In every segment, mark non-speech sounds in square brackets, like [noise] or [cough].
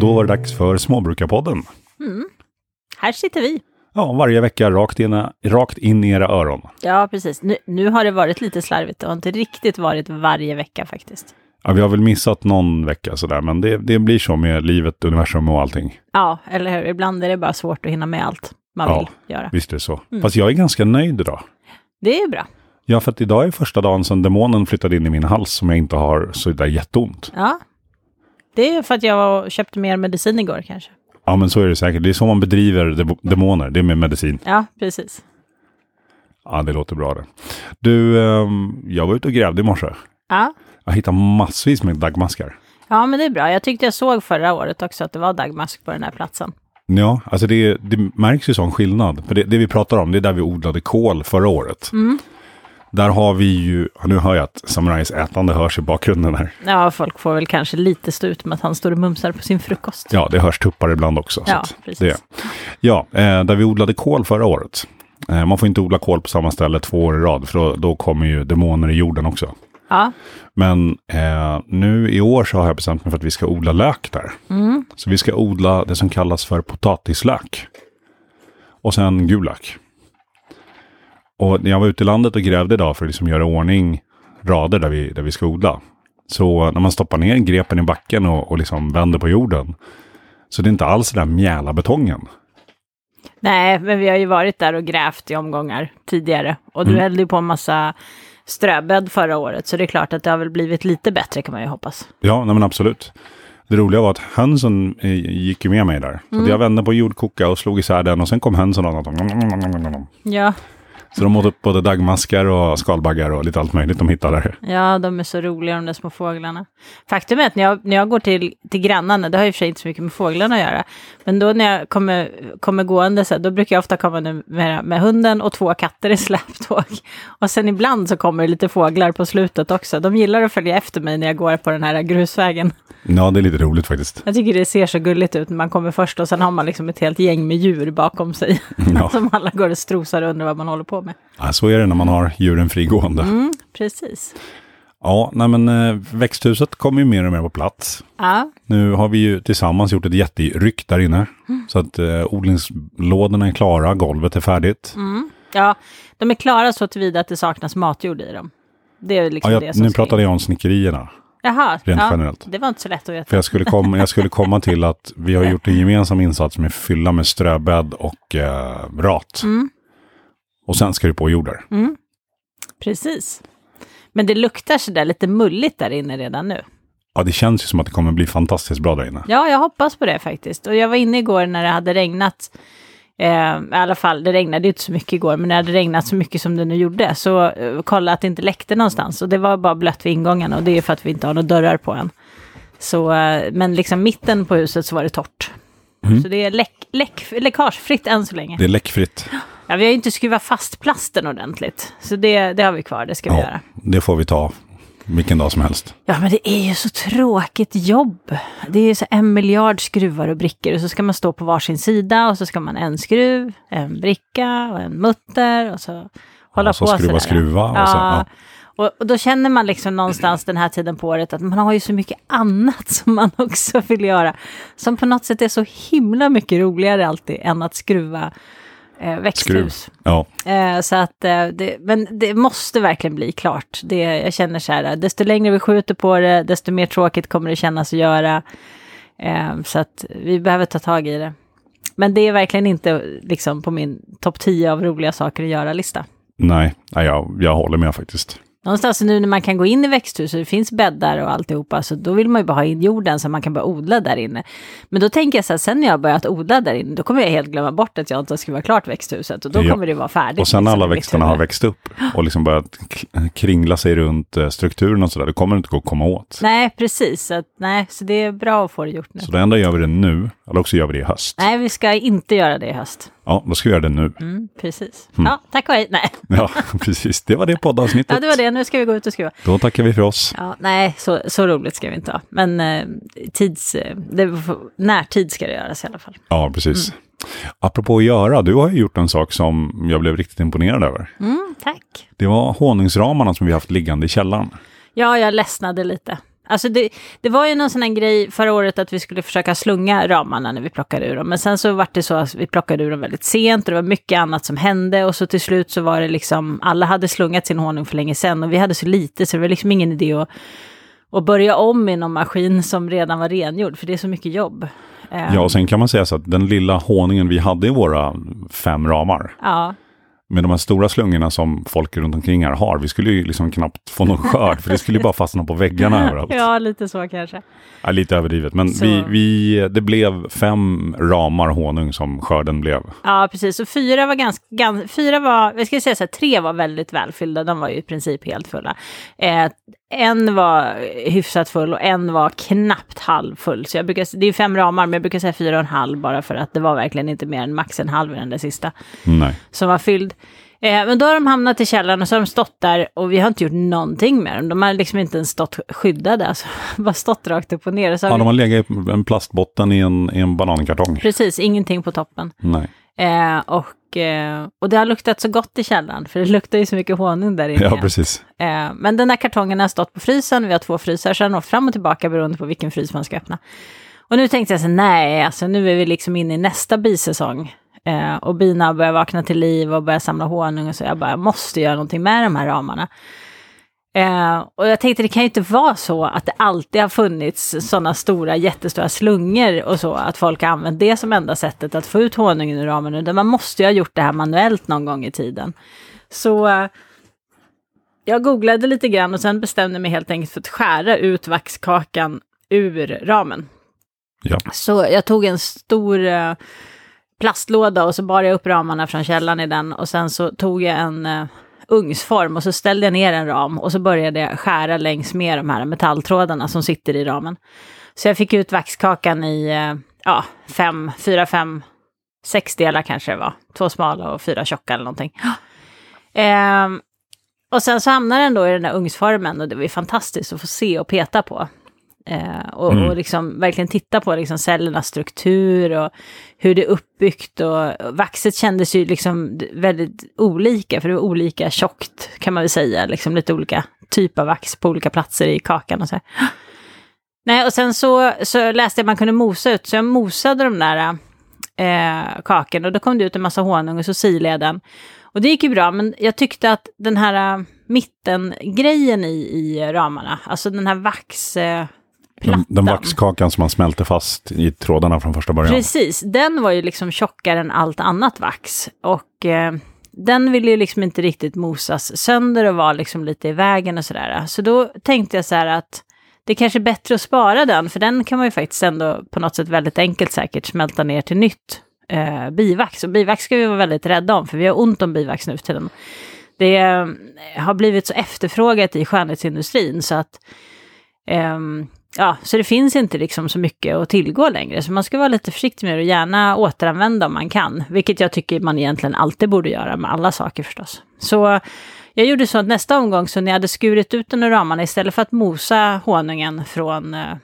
då var det dags för Småbrukarpodden. Här sitter vi. Ja, varje vecka rakt, ina, rakt in i era öron. Ja, precis. Nu, nu har det varit lite slarvigt. Det har inte riktigt varit varje vecka faktiskt. Ja, vi har väl missat någon vecka sådär, men det, det blir så med livet, universum och allting. Ja, eller hur? Ibland är det bara svårt att hinna med allt man Ja. vill göra. Visst är det så. Fast jag är ganska nöjd idag. Det är bra. Ja, för att idag är första dagen sedan demonen flyttade in i min hals som jag inte har så där jätteont. Ja. Det är för att jag var och köpte mer medicin igår kanske. Ja, men så är det säkert. Det är så man bedriver de- demoner, det är med medicin. Ja, precis. Ja, det låter bra det. Du, ehm, jag var ute och grävde i morse. Ja. Jag hittade massvis med daggmaskar. ja, men det är bra. Jag tyckte jag såg förra året också att det var dagmask på den här platsen. Ja, alltså det, det märks ju sån skillnad. För det, det vi pratar om, det är där vi odlade kål förra året. Mm. Där har vi ju, ja, nu hör jag att Samurajs ätande hörs i bakgrunden här. Ja, folk får väl kanske lite stå ut med att han står och mumsar på sin frukost. Ja, det hörs tuppar ibland också. Ja, att precis. Det. Ja, eh, där vi odlade kål förra året. Eh, man får inte odla kål på samma ställe två år i rad, för då, då kommer ju demoner i jorden också. Ja, Men eh, nu i år så har jag bestämt mig för att vi ska odla lök där. Så vi ska odla det som kallas för potatislök. Och sen gul lök. Och när jag var ute i landet och grävde idag för att liksom göra i ordning rader där vi, där vi ska odla. Så när man stoppar ner grepen i backen och, och liksom vänder på jorden. Så det är inte alls den där mjäla betongen. Nej, men vi har ju varit där och grävt i omgångar tidigare. Och du hällde ju på en massa ströbädd förra året, så det är klart att det har väl blivit lite bättre kan man ju hoppas. Ja, nej men absolut. Det roliga var att hönsen eh, gick ju med mig där. Så att jag vände på jordkoka och slog isär den och sen kom hönsen och annat. Ja, Så de åt upp både daggmaskar och skalbaggar och lite allt möjligt de hittade. ja de är så roliga de där små fåglarna. Faktum är att när jag, när jag går till, till grannarna, det har ju i och för sig inte så mycket med fåglarna att göra, men då när jag kommer, kommer gående så här, då brukar jag ofta komma nu med, med hunden och två katter i [laughs] släptåg. Och sen ibland så kommer det lite fåglar på slutet också. De gillar att följa efter mig när jag går på den här grusvägen. Ja, det är lite roligt faktiskt. Jag tycker det ser så gulligt ut när man kommer först och sen har man liksom ett helt gäng med djur bakom sig. [laughs] Ja. Som alla går och strosar och undrar vad man håller på med. Ja, så är det när man har djuren frigående. Mm. Precis. Ja, nej men eh, växthuset kommer ju mer och mer på plats. Ja, Nu har vi ju tillsammans gjort ett jätteryck där inne. Mm. Så att eh, odlingslådorna är klara, golvet är färdigt. Mm, ja de är klara så tillvida att det saknas matjord i dem. Det är liksom ja, jag, det som nu ska pratade in. jag om snickerierna. Jaha, rent ja, generellt. Det var inte så lätt att veta. För jag skulle, komma, jag skulle komma till att vi har gjort en gemensam insats med fylla med ströbädd och eh, rat. Mm. Och sen ska det på jordar. Precis. Men det luktar så där lite mulligt där inne redan nu. Ja, det känns ju som att det kommer bli fantastiskt bra där inne. Ja, jag hoppas på det faktiskt. Och jag var inne igår när det hade regnat. Eh, I alla fall, det regnade ju inte så mycket igår, men det hade regnat så mycket som det nu gjorde. Så eh, kolla att det inte läckte någonstans. Och det var bara blött vid ingången och det är för att vi inte har några dörrar på än. Så, eh, men liksom mitten på huset så var det torrt. Så det är läck, läck, läckagefritt än så länge. Mm. Det är läckfritt. Ja, vi har ju inte skruvat fast plasten ordentligt. Så det, det har vi kvar, det ska vi Ja, göra. det får vi ta vilken dag som helst. Ja, men det är ju så tråkigt jobb. Det är ju så en miljard skruvar och brickor och så ska man stå på varsin sida och så ska man en skruv, en bricka och en mutter och så hålla och så på skruva, sådär. skruva och ja. sen- ja. Och, och då känner man liksom någonstans den här tiden på året att man har ju så mycket annat [laughs] som man också vill göra. Som på något sätt är så himla mycket roligare alltid än att skruva eh, växthus. Ja, Eh, så att, eh, det, men det måste verkligen bli klart. Det, jag känner så här, eh, desto längre vi skjuter på det, desto mer tråkigt kommer det kännas att göra. Eh, så att vi behöver ta tag i det. Men det är verkligen inte eh, liksom, på min topp 10 av roliga saker att göra-lista. nej, nej jag, jag håller med faktiskt. Någonstans nu när man kan gå in i växthus och det finns bäddar och alltihopa, så då vill man ju bara ha in jorden så man kan börja odla där inne. Men då tänker jag så här, sen när jag har börjat odla där inne, då kommer jag helt glömma bort att jag inte ska vara klart växthuset och då Ja. kommer det vara färdigt. Och sen när liksom, alla i mitt växterna har huvud. växt upp och liksom börjat k- kringla sig runt eh, strukturen och sådär, då kommer det inte gå att komma åt. Nej, precis. Så, att, nej, så det är bra att få det gjort nu. Så det enda gör vi det nu, eller också gör vi det i höst. Nej, vi ska inte göra det i höst. Ja, då ska vi göra det nu. Mm, precis. Ja, tack och hej. Nej, Ja, [laughs] precis. Det var det poddavsnittet. ja, det var det. Nu ska vi gå ut och skruva. Då tackar vi för oss. Ja, nej, så, så roligt ska vi inte ha. Men eh, tids, eh, det, får- närtid ska det göras i alla fall. Ja, precis. Apropå att göra, du har ju gjort en sak som jag blev riktigt imponerad över. Mm, tack. Det var honungsramarna som vi haft liggande i källaren. Ja, jag ledsnade lite. Alltså det, det var ju någon sån här grej förra året att vi skulle försöka slunga ramarna när vi plockade ur dem. Men sen så var det så att vi plockade ur dem väldigt sent och det var mycket annat som hände. Och så till slut så var det liksom, alla hade slungat sin honung för länge sedan och vi hade så lite så det var liksom ingen idé att, att börja om i någon maskin som redan var rengjord. För det är så mycket jobb. Eh, Ja, och sen kan man säga så att den lilla honungen vi hade i våra fem ramar, ja. med de här stora slungorna som folk runt omkring här har, vi skulle ju liksom knappt få någon skörd, för det skulle ju bara fastna på [laughs] väggarna överallt. ja, lite så kanske. Ja, lite överdrivet, men Så- vi, vi, det blev fem ramar honung som skörden blev. Ja, precis. Så fyra var ganska, gan, fyra var, jag ska säga så här, tre var väldigt välfyllda, de var ju i princip helt fulla. Eh, en var hyfsat full och en var knappt halvfull. Så jag brukar, s- det är fem ramar, men jag brukar säga fyra och en halv bara för att det var verkligen inte mer än max en halv i den där sista Nej. som var fylld. Eh, men då har de hamnat i källaren och så har de stått där och vi har inte gjort någonting med dem. De har liksom inte ens stått skyddade, alltså [laughs] bara stått rakt upp och ner. Och så har Ja, vi- de har legat i en plastbotten i en, i en banankartong. Precis, ingenting på toppen. Nej. Eh, och, eh, och det har luktat så gott i källaren, för det luktar ju så mycket honung där inne. Ja, precis. eh, men den här kartongen har stått på frysen, vi har två frysar, så den har åkt fram och tillbaka beroende på vilken frys man ska öppna. Och nu tänkte jag så här, nej, alltså nu är vi liksom inne i nästa bisäsong. Eh, och bina börjar vakna till liv och börjar samla honung och så. Jag bara, jag måste göra någonting med de här ramarna. Eh, och jag tänkte, det kan ju inte vara så att det alltid har funnits sådana stora, jättestora slungor och så, att folk har använt det som enda sättet att få ut honungen ur ramen, utan man måste ju ha gjort det här manuellt någon gång i tiden. Så eh, jag googlade lite grann och sen bestämde mig helt enkelt för att skära ut vaxkakan ur ramen. Ja. Så jag tog en stor eh, plastlåda och så bar jag upp ramarna från källan i den och sen så tog jag en eh, ugnsform och så ställde jag ner en ram och så började jag skära längs med de här metalltrådarna som sitter i ramen. Så jag fick ut vaxkakan i eh, ja, fem, fyra, fem, sex delar kanske det var. Två smala och fyra tjocka eller någonting. Ehm, och sen så hamnar den då i den där ugnsformen och det var ju fantastiskt att få se och peta på. Eh, och, och liksom verkligen titta på liksom cellernas struktur och hur det är uppbyggt. Och, och vaxet kändes ju liksom d- väldigt olika, för det var olika tjockt kan man väl säga. Liksom lite olika typ av vax på olika platser i kakan och så här. Nej, och sen så, så läste jag att man kunde mosa ut, så jag mosade de där eh, kakorna och då kom det ut en massa honung och så silade jag den. Och det gick ju bra, men jag tyckte att den här eh, mittengrejen i, i ramarna, alltså den här vax... Eh, Den, den plattan. vaxkakan som man smälter fast i trådarna från första början. Precis, den var ju liksom tjockare än allt annat vax. Och eh, den ville ju liksom inte riktigt mosas sönder och var liksom lite i vägen och sådär. Så då tänkte jag så här att det kanske är bättre att spara den, för den kan man ju faktiskt ändå på något sätt väldigt enkelt säkert smälta ner till nytt eh, bivax. Och bivax ska vi vara väldigt rädda om, för vi har ont om bivax nu för tiden. Det eh, har blivit så efterfrågat i skönhetsindustrin så att Ehm, ja, så det finns inte liksom så mycket att tillgå längre. Så man ska vara lite försiktig med det och gärna återanvända om man kan. Vilket jag tycker man egentligen alltid borde göra med alla saker förstås. Så jag gjorde så att nästa omgång, så när jag hade skurit ut den ur ramarna, istället för att mosa honungen från eh,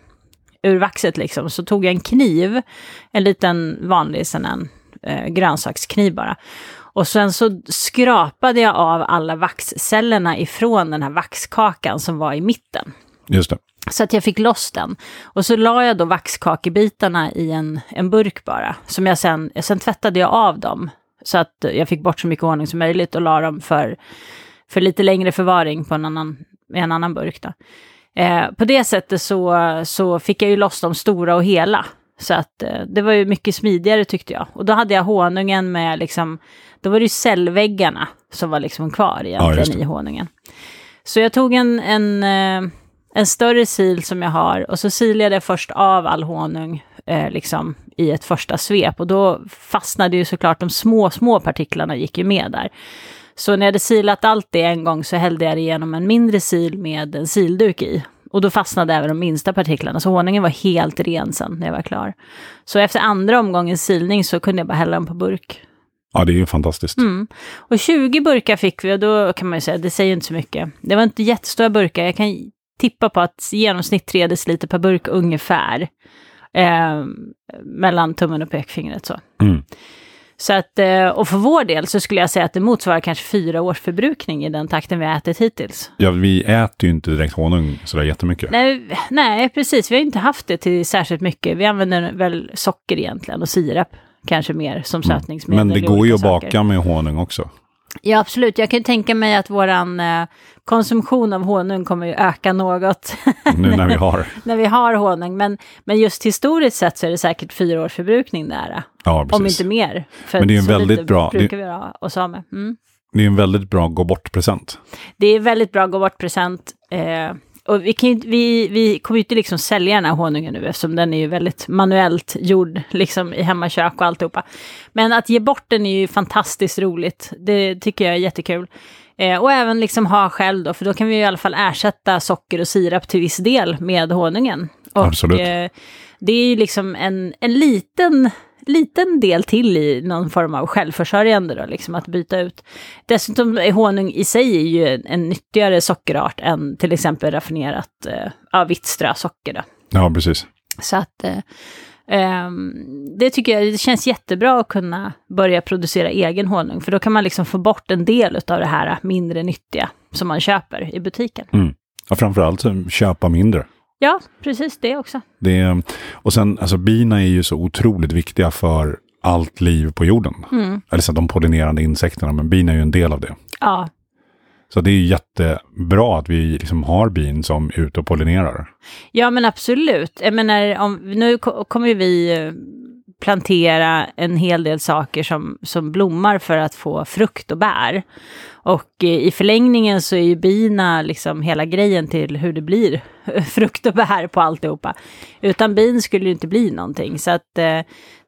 ur vaxet liksom, så tog jag en kniv, en liten vanlig sån här, eh, grönsakskniv bara. Och sen så skrapade jag av alla vaxcellerna ifrån den här vaxkakan som var i mitten. Just det. Så att jag fick loss den. Och så la jag då vaxkakebitarna i en, en burk bara. Som jag sen, sen tvättade jag av dem. Så att jag fick bort så mycket honung som möjligt och la dem för, för lite längre förvaring på en annan, i en annan burk. Då. Eh, på det sättet så, så fick jag ju loss de stora och hela. Så att eh, det var ju mycket smidigare tyckte jag. Och då hade jag honungen med liksom, då var det ju cellväggarna som var liksom kvar egentligen det. i honungen. Så jag tog en, en, eh, en större sil som jag har och så silade jag först av all honung eh, liksom, i ett första svep. Och då fastnade ju såklart de små, små partiklarna gick ju med där. Så när jag hade silat allt det en gång så hällde jag det genom en mindre sil med en silduk i. Och då fastnade även de minsta partiklarna, så honungen var helt ren sen när jag var klar. Så efter andra omgångens silning så kunde jag bara hälla den på burk. Ja, det är ju fantastiskt. Mm. Och 20 burkar fick vi och då kan man ju säga, det säger inte så mycket. Det var inte jättestora burkar, jag kan tippa på att i genomsnitt 3 deciliter per burk ungefär. Eh, mellan tummen och pekfingret så. Mm. Så att, eh, och för vår del så skulle jag säga att det motsvarar kanske fyra års förbrukning i den takten vi har ätit hittills. Ja, vi äter ju inte direkt honung sådär jättemycket. Nej, nej, precis. Vi har inte haft det till särskilt mycket. Vi använder väl socker egentligen och sirap kanske mer som sötningsmedel. Mm. Men det i går ju olika att saker. baka med honung [laughs] också. Ja, absolut. Jag kan ju tänka mig att våran eh, konsumtion av honung kommer ju öka något [laughs] Nu när vi har. när vi har honung. Men, men just historiskt sett så är det säkert fyra års förbrukning nära. Ja, Om precis. inte mer. För Men det är ju så väldigt lite bra- det- brukar vi ha oss av med. Mm. Det är en väldigt bra gå bort-present. Det är väldigt bra gå bort-present. Eh, och vi, kan, ju inte- vi, vi kommer ju inte liksom sälja den här honungen nu eftersom den är ju väldigt manuellt gjord liksom i hemmakök och alltihopa. Men att ge bort den är ju fantastiskt roligt. Det tycker jag är jättekul. Eh, och även liksom ha själv då, för då kan vi i alla fall ersätta socker och sirap till viss del med honungen. Och, Absolut. Eh, det är ju liksom en, en liten, liten del till i någon form av självförsörjande då, liksom att byta ut. Dessutom är honung i sig är ju en, en nyttigare sockerart än till exempel raffinerat eh, ja, vitt strösocker. Då. Ja, precis. Så att eh, ehm, det tycker jag, det känns jättebra att kunna börja producera egen honung, för då kan man liksom få bort en del av det här mindre nyttiga som man köper i butiken. Ja, framförallt så köpa mindre. Ja, precis det också. Det är, och sen, alltså bina är ju så otroligt viktiga för allt liv på jorden. Mm. Eller så de pollinerande insekterna, men bina är ju en del av det. Ja, Så det är ju jättebra att vi liksom har bin som är ute och pollinerar. Ja, men absolut. Jag menar, om, nu ko- kommer ju vi eh, plantera en hel del saker som, som blommar för att få frukt och bär. Och eh, i förlängningen så är ju bina liksom hela grejen till hur det blir [laughs] frukt och bär på alltihopa. Utan bin skulle det ju inte bli någonting. Så att eh,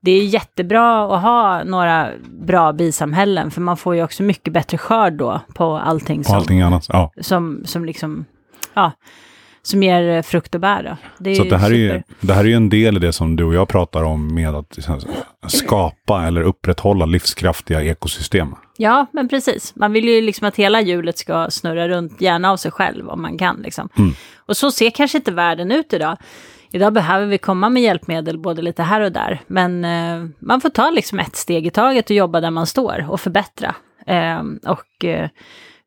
det är jättebra att ha några bra bisamhällen, för man får ju också mycket bättre skörd då på allting Och som, allting annat. Ja. som, som liksom, ja, som ger eh, frukt och bär. Då. Det är Så att det här är, ju, super. det här är ju en del i det som du och jag pratar om med att liksom skapa eller upprätthålla livskraftiga ekosystem. Ja, men precis. Man vill ju liksom att hela hjulet ska snurra runt, gärna av sig själv om man kan. Liksom. Mm. Och så ser kanske inte världen ut idag. Idag behöver vi komma med hjälpmedel både lite här och där. Men eh, man får ta liksom ett steg i taget och jobba där man står och förbättra. Eh, och eh,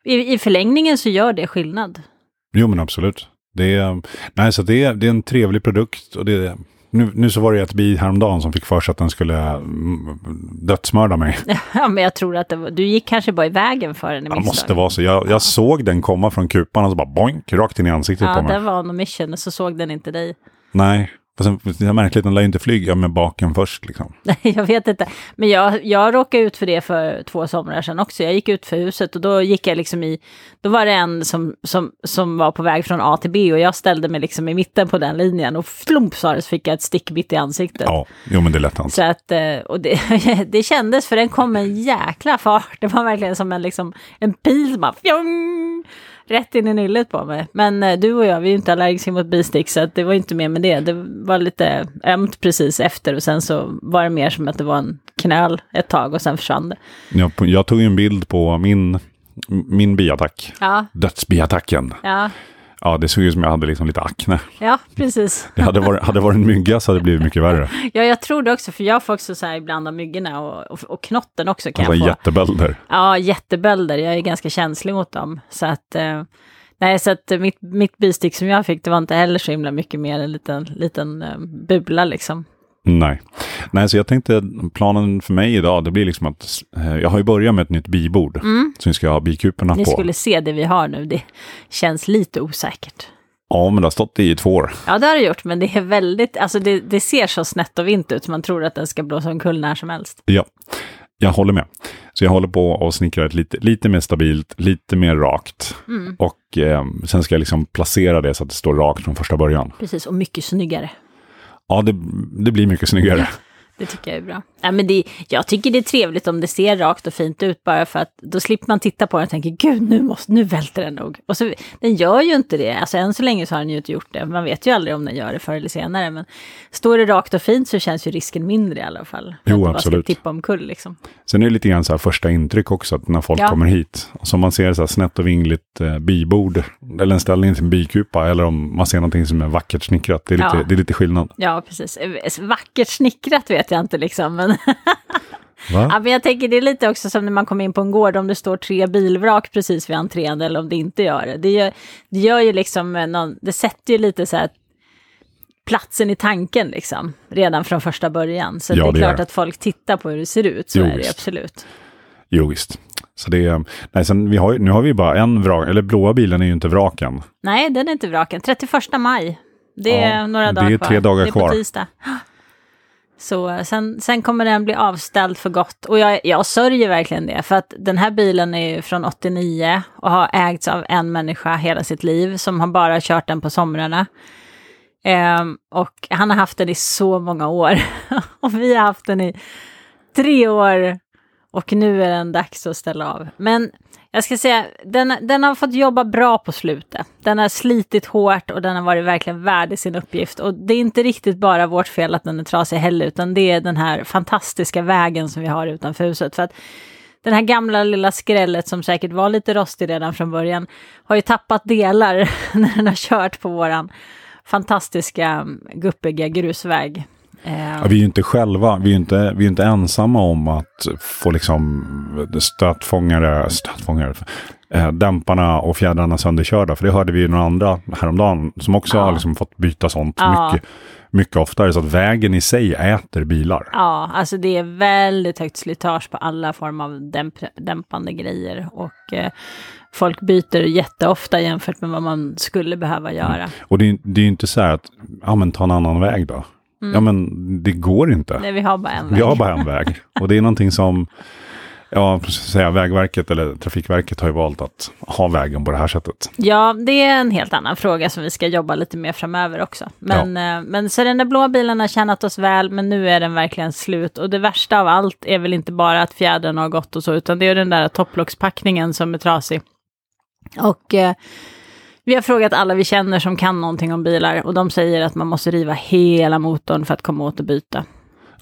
i, i förlängningen så gör det skillnad. [laughs] Jo, men absolut. Det är, nej, så det är, det är en trevlig produkt. Och det är, nu, nu så var det ju ett bi häromdagen som fick för sig att den skulle mm, dödsmörda mig. Ja, men jag tror att det var, du gick kanske bara i vägen för den i Det måste misstag. vara så. Jag, jag såg den komma från kupan och så bara boink, rakt in i ansiktet Ja, på mig. den var on a mission och så såg den inte dig. Nej, och sen, det är märkligt, den lär ju inte flyga med baken först liksom. Nej, [laughs] jag vet inte. Men jag, jag råkade ut för det för två somrar sedan också. Jag gick ut för huset och då gick jag liksom i... Då var det en som, som, som var på väg från A till B och jag ställde mig liksom i mitten på den linjen och flump sa det så fick jag ett stick mitt i ansiktet. Ja, jo men det är lätt hänt. Så att, eh, och det, [laughs] det kändes, för den kom med en jäkla fart. Det var verkligen som en, liksom, en pil som bara fjong, rätt in i nyllet på mig. Men eh, du och jag, vi är ju inte allergiska mot bistick, så att det var ju inte mer med det. Det var lite ömt precis efter och sen så var det mer som att det var en knöl ett tag och sen försvann det. Jag, jag tog ju en bild på min, min biattack. Ja, Dödsbiattacken. ja, Ja, det såg ut som jag hade liksom lite akne. ja precis. Det hade varit, hade varit en mygga så hade det blivit mycket värre. Ja, jag tror det också, för jag får också så här ibland av myggorna och, och, och knotten också kan Alltså jag få. jättebölder. Ja, jättebölder. Jag är ganska känslig mot dem. Så att, eh, nej, så att eh, mitt, mitt bistick som jag fick, det var inte heller så himla mycket mer en liten, liten eh, bula liksom. Nej. Nej, så jag tänkte planen för mig idag, det blir liksom att eh, jag har ju börjat med ett nytt bibord som vi ska ha bikuporna Mm. Ni på. skulle se det vi har nu, det känns lite osäkert. Ja, men det har stått i två år. Ja, det har det gjort, men det är väldigt, alltså det, det ser så snett och vint ut, så man tror att den ska blåsa omkull när som helst. Ja, jag håller med. Så jag håller på och snickrar ett lite, lite mer stabilt, lite mer rakt. Mm. Och eh, sen ska jag liksom placera det så att det står rakt från första början. Precis, och mycket snyggare. Ja, det, det blir mycket snyggare. Det tycker jag är bra. Ja, men det, jag tycker det är trevligt om det ser rakt och fint ut bara för att då slipper man titta på den och tänker gud nu, måste, nu välter den nog. Och så, den gör ju inte det, alltså än så länge så har den ju inte gjort det. Man vet ju aldrig om den gör det förr eller senare. Men står det rakt och fint så känns ju risken mindre i alla Jo, fall. Att det bara absolut. ska tippa omkull liksom. Sen är det lite grann så här första intryck också, att när folk Ja. kommer hit. Och så om man ser så här snett och vingligt eh, bibord, eller en ställning till en bikupa, eller om man ser någonting som är vackert snickrat. Det är lite, Ja. det är lite skillnad. Ja, precis. Eh, Vackert snickrat vet jag inte liksom, men Va? Ja, men jag tänker det är lite också som när man kommer in på en gård, om det står tre bilvrak precis vid entrén eller om det inte gör det. Det gör, det gör ju liksom, eh, någon, det sätter ju lite så här platsen i tanken liksom, redan från första början. Så Ja, det är det gör klart det. att folk tittar på hur det ser ut, så Jo, är det ju visst. absolut. Jo, visst. Så det är, nej, sen vi har, ju- nu har vi bara en vrak, eller blåa bilen är ju inte vraken. Nej, den är inte vraken. 31 maj. Det är Ja, några det dagar är kvar. tre dagar det är på kvar. tisdag. Så eh, sen, sen kommer den bli avställd för gott. Och jag, jag sörjer verkligen det, för att den här bilen är ju från 89 och har ägts av en människa hela sitt liv som har bara kört den på somrarna. Ehm, och han har haft den i så många år. [laughs] och vi har haft den i tre år och nu är den dags att ställa av. Men jag ska säga, den, den har fått jobba bra på slutet. Den har slitit hårt och den har varit verkligen värdig sin uppgift. Och det är inte riktigt bara vårt fel att den är trasig heller, utan det är den här fantastiska vägen som vi har utanför huset. För att den här gamla lilla skrället som säkert var lite rostig redan från början har ju tappat delar [laughs] när den har kört på våran fantastiska mm, guppiga grusväg. Eh, Ja, vi är ju inte själva, vi är ju inte, vi är ju inte ensamma om att få liksom stötfångare, stötfångare, eh, dämparna och fjädrarna sönderkörda. För det hörde vi ju några andra häromdagen som också Ja. har liksom fått byta sånt Ja. mycket, mycket oftare. Så att vägen i sig äter bilar. Ja, alltså det är väldigt högt slitage på alla former av dämp- dämpande grejer. Och eh, folk byter jätteofta jämfört med vad man skulle behöva göra. Och det, är- det är ju inte så här att, ja men ta en annan väg då. Ja men det går inte. Mm. Nej, vi har bara en väg. Vi har bara en väg. Och det är någonting som ja, precis att säga, Vägverket eller Trafikverket har ju valt att ha vägen på det här sättet. Ja, det är en helt annan fråga som vi ska jobba lite mer framöver också. Men, eh, men så den där blå bilen har tjänat oss väl, men nu är den verkligen slut. Och det värsta av allt är väl inte bara att fjädern har gått och så, utan det är den där topplockspackningen som är trasig. Och eh, vi har frågat alla vi känner som kan någonting om bilar och de säger att man måste riva hela motorn för att komma åt att byta.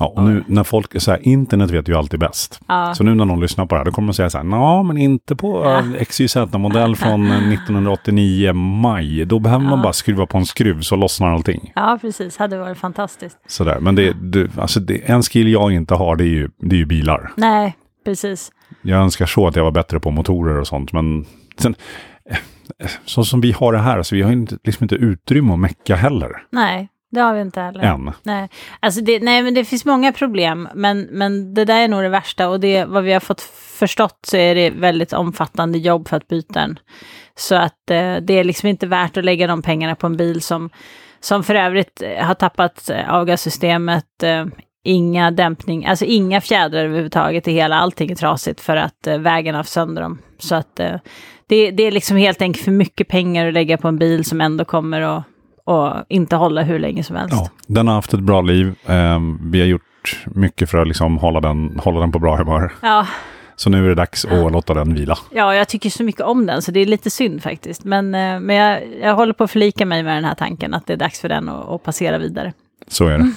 Ja, och nu när folk, är så här, internet vet ju alltid bäst. Ja. Så nu när någon lyssnar på det här, då kommer de säga så här, ja men inte på eh, XYZ-modell från eh, 1989 maj. Då behöver man bara skruva på en skruv så lossnar allting. Ja, precis. Hade varit fantastiskt. Så där. Men det, det, alltså det, en skill jag inte har, det är, ju, det är ju bilar. Nej, precis. Jag önskar så att jag var bättre på motorer och sånt, men sen, eh, eh, så som vi har det här, så vi har ju inte, liksom inte utrymme att mecka heller, Nej, det har vi inte heller. än. Nej, alltså det, nej men det finns många problem, men, men det där är nog det värsta. Och det, vad vi har fått förstått så är det väldigt omfattande jobb för att byta den. Så att eh, det är liksom inte värt att lägga de pengarna på en bil som, som för övrigt eh, har tappat eh, avgassystemet, eh, inga dämpning, alltså inga fjädrar överhuvudtaget i hela, allting är trasigt för att eh, vägen har haft sönder dem. Så att eh, det, det är liksom helt enkelt för mycket pengar att lägga på en bil som ändå kommer att och inte hålla hur länge som helst. Ja, den har haft ett bra liv. Ehm, vi har gjort mycket för att liksom hålla, den, hålla den på bra humör. Ja, Så nu är det dags att låta den vila. ja, jag tycker så mycket om den så det är lite synd faktiskt. Men, eh, men jag, jag håller på att förlika mig med den här tanken att det är dags för den att, att passera vidare. Så är det.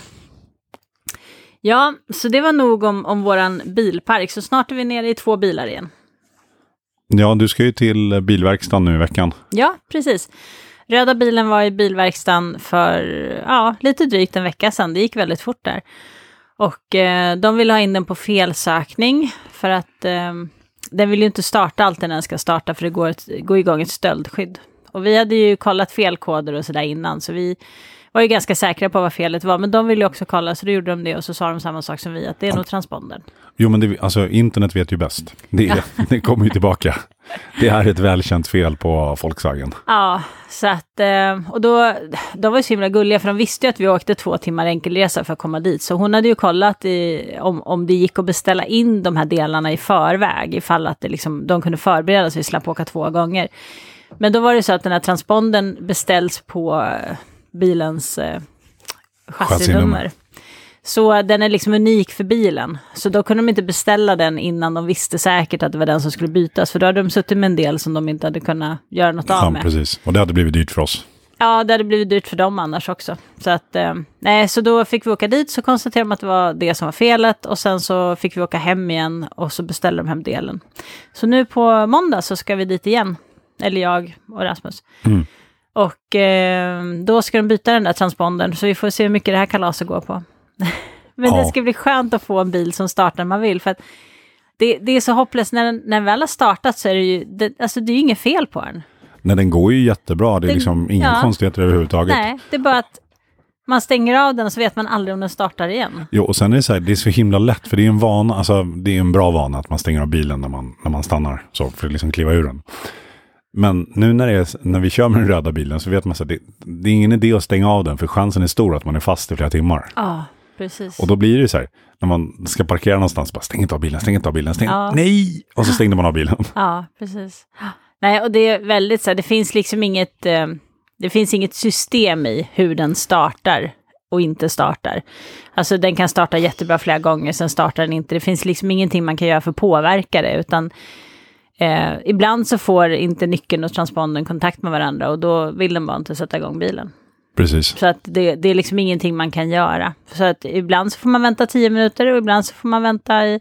Ja, så det var nog om, om våran bilpark. Så snart är vi nere i två bilar igen. Ja, du ska ju till bilverkstaden nu i veckan. Ja, precis. Röda bilen var i bilverkstan för ja, lite drygt en vecka sedan. Det gick väldigt fort där. Och eh, de vill ha in den på felsökning för att eh, den vill ju inte starta alltid när den ska starta för det går, ett, går igång ett stöldskydd. Och vi hade ju kollat felkoder och sådär innan så vi var ju ganska säkra på vad felet var. Men de ville ju också kolla så då gjorde de det och så sa de samma sak som vi att det är nog transpondern. Jo, men det, alltså, internet vet ju bäst. Det, är- [laughs] det kommer ju tillbaka. Det är ett välkänt fel på Volkswagen. Ja, så att, eh, och då, de var ju så himla gulliga för de visste ju att vi åkte två timmar enkelresa för att komma dit. Så hon hade ju kollat i, om, om det gick att beställa in de här delarna i förväg, ifall att det liksom, de kunde förbereda sig och slapp åka två gånger. Men då var det så att den här transpondern beställs på eh, bilens eh, chassinummer. Chassinummer. Så den är liksom unik för bilen. Så då kunde de inte beställa den innan de visste säkert att det var den som skulle bytas. För då hade de suttit med en del som de inte hade kunnat göra något av Ja, med. precis. Och det hade blivit dyrt för oss. Ja, det hade blivit dyrt för dem annars också. Så, att, eh, nej, så då fick vi åka dit, så konstaterade de att det var det som var felet och sen så fick vi åka hem igen och så beställde de hem delen. Så nu på måndag så ska vi dit igen, eller jag och Rasmus. Mm. Och eh, då ska de byta den där transpondern, så vi får se hur mycket det här kalaset går på. [laughs] Men Ja. det ska bli skönt att få en bil som startar när man vill. För att det, det är så hopplöst, när den, när den väl har startat så är det ju, det, alltså det är ju inget fel på den. Nej, den går ju jättebra. Det är Den- liksom inga ja. konstigheter överhuvudtaget. Nej, det är bara att man stänger av den och så vet man aldrig om den startar igen. Jo, och sen är det så här, det är så himla lätt, för det är en vana, alltså det är en bra vana att man stänger av bilen när man, när man stannar, så, för att liksom kliva ur den. Men nu när, det är, när vi kör med den röda bilen så vet man att det, det är ingen idé att stänga av den, för chansen är stor att man är fast i flera timmar. Ja, precis. Och då blir det ju så här, när man ska parkera någonstans, bara stäng inte av bilen, stäng inte av bilen, stäng, Ja. nej! Och så stängde man av [laughs] bilen. Ja, precis. Nej, och det är väldigt så här, det finns liksom inget, eh, det finns inget system i hur den startar och inte startar. Alltså den kan starta jättebra flera gånger, sen startar den inte. Det finns liksom ingenting man kan göra för att påverka det, utan eh, ibland så får inte nyckeln och transpondern kontakt med varandra och då vill den bara inte sätta igång bilen. Precis. Så att det, det är liksom ingenting man kan göra. Så att ibland så får man vänta tio minuter och ibland så får man vänta i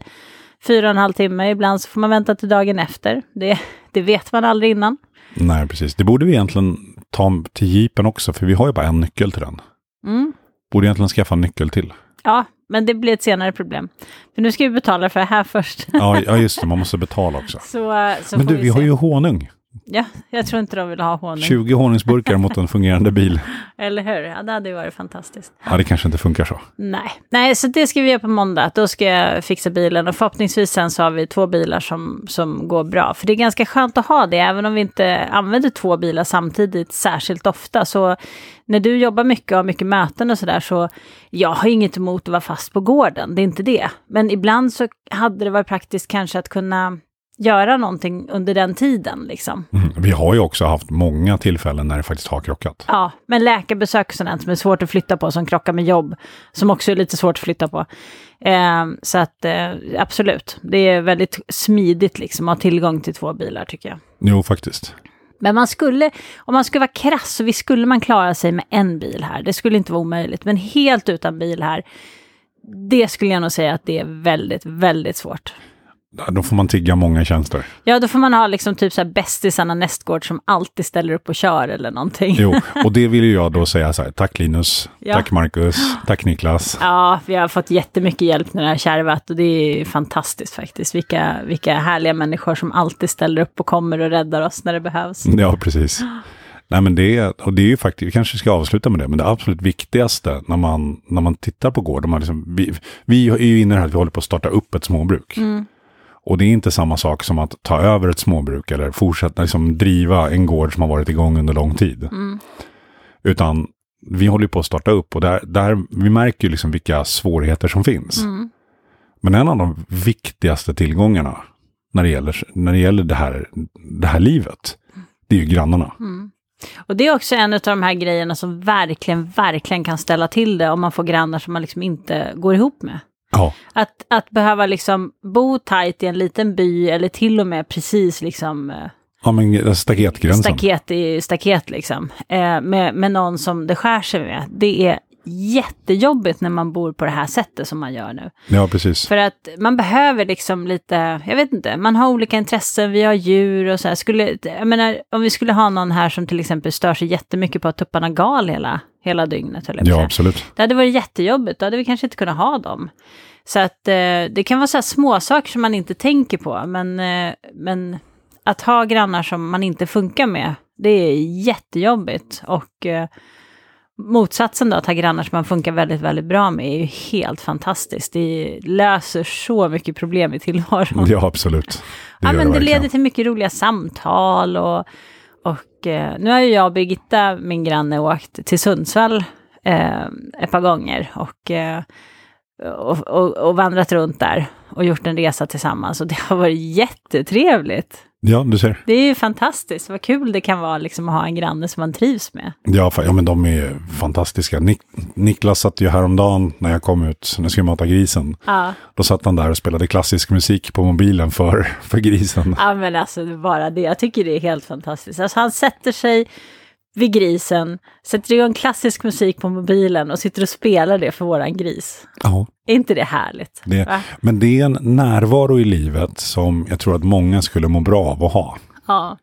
fyra och en halv timme. Ibland så får man vänta till dagen efter. Det, det vet man aldrig innan. Nej, precis. Det borde vi egentligen ta till jeepen också, för vi har ju bara en nyckel till den. Mm. Borde egentligen skaffa en nyckel till. Ja, men det blir ett senare problem. För nu ska vi betala för det här först. [laughs] Ja, ja just det, man måste betala också. Så, så Men får du, vi har se. ju honung. Ja, jag tror inte de vill ha honung. 20 honungsburkar mot en fungerande [laughs] bil. Eller hur? Ja, det hade ju varit fantastiskt. Ja, det kanske inte funkar så. Nej. Nej, så det ska vi göra på måndag. Då ska jag fixa bilen och förhoppningsvis sen så har vi två bilar som, som går bra. För det är ganska skönt att ha det, även om vi inte använder två bilar samtidigt särskilt ofta. Så när du jobbar mycket och har mycket möten och sådär så, jag har inget emot att vara fast på gården, det är inte det. Men ibland så hade det varit praktiskt kanske att kunna göra någonting under den tiden liksom. Mm. Vi har ju också haft många tillfällen när det faktiskt har krockat. Ja, men läkarbesök och sådant som är svårt att flytta på, som krockar med jobb, som också är lite svårt att flytta på. Eh, så att eh, absolut, det är väldigt smidigt liksom att ha tillgång till två bilar tycker jag. Jo, faktiskt. Men man skulle, om man skulle vara krass, så visst skulle man klara sig med en bil här. Det skulle inte vara omöjligt, men helt utan bil här, det skulle jag nog säga att det är väldigt, väldigt svårt. Då får man tigga många tjänster. Ja, då får man ha liksom typ så här bästisarna nästgård som alltid ställer upp och kör eller någonting. Jo, och det vill ju jag då säga så här, tack Linus, Ja. tack Marcus, tack Niklas. Ja, vi har fått jättemycket hjälp när det har kärvat och det är fantastiskt faktiskt. Vilka, vilka härliga människor som alltid ställer upp och kommer och räddar oss när det behövs. Ja, precis. Nej, men det, är- och det är ju faktiskt, vi kanske ska avsluta med det, men det absolut viktigaste när man, när man tittar på gård, om man liksom, vi, vi är ju inne i det här att vi håller på att starta upp ett småbruk. Och det är inte samma sak som att ta över ett småbruk eller fortsätta liksom driva en gård som har varit igång under lång tid. Utan vi håller ju på att starta upp och där, där, vi märker ju liksom vilka svårigheter som finns. Men en av de viktigaste tillgångarna när det gäller, när det, gäller det, här, det här livet, det är ju grannarna. Mm. Och det är också en av de här grejerna som verkligen, verkligen kan ställa till det om man får grannar som man liksom inte går ihop med. Ja, Att, att behöva liksom bo tajt i en liten by eller till och med precis liksom eh, ja men staketgränsen. staket i staket liksom. Eh, med, med någon som det skär sig med. Det är jättejobbigt när man bor på det här sättet som man gör nu. Ja, precis. För att man behöver liksom lite, jag vet inte, man har olika intressen, vi har djur och så här. Skulle, jag menar, om vi skulle ha någon här som till exempel stör sig jättemycket på att tupparna gal hela, hela dygnet, höll jag på att Ja, säga. absolut. Det hade varit jättejobbigt, då hade vi kanske inte kunnat ha dem. Så att eh, det kan vara så här små saker som man inte tänker på, men, eh, men att ha grannar som man inte funkar med, det är jättejobbigt. Och eh, motsatsen då, att ha grannar som man funkar väldigt, väldigt bra med, är ju helt fantastiskt. Det löser så mycket problem i tillvaron. Ja, absolut. Det Ja, gör men det verkligen. leder till mycket roliga samtal och, och eh, nu har ju jag och Birgitta, min granne, åkt till Sundsvall eh, ett par gånger och, eh, och, och, och vandrat runt där och gjort en resa tillsammans och det har varit jättetrevligt. Ja, du ser. Det är ju fantastiskt, vad kul det kan vara liksom att ha en granne som man trivs med. Ja, fa- ja men de är ju fantastiska. Nik Niklas satt ju häromdagen när jag kom ut, när jag skulle mata grisen. Ja, Då satt han där och spelade klassisk musik på mobilen för, [laughs] för grisen. ja men alltså det är bara det, jag tycker det är helt fantastiskt. Alltså han sätter sig vid grisen, sätter igång klassisk musik på mobilen och sitter och spelar det för våran gris. Ja, Är inte det härligt? det, Va? men det är en närvaro i livet som jag tror att många skulle må bra av att ha. Ja.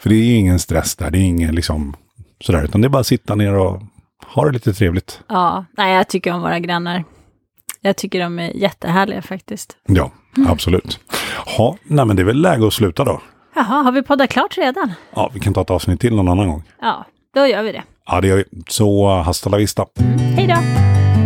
För det är ju ingen stress där, det är ingen liksom sådär, utan det är bara att sitta ner och ha det lite trevligt. ja. Nej, jag tycker om våra grannar. Jag tycker de är jättehärliga faktiskt. Ja, absolut. Ja, nej men det är väl läge att sluta då. Jaha, har vi poddat klart redan? Ja, vi kan ta ett avsnitt till någon annan gång. Ja, då gör vi det. Ja, det gör vi. Så eh, hasta la vista. Hej då!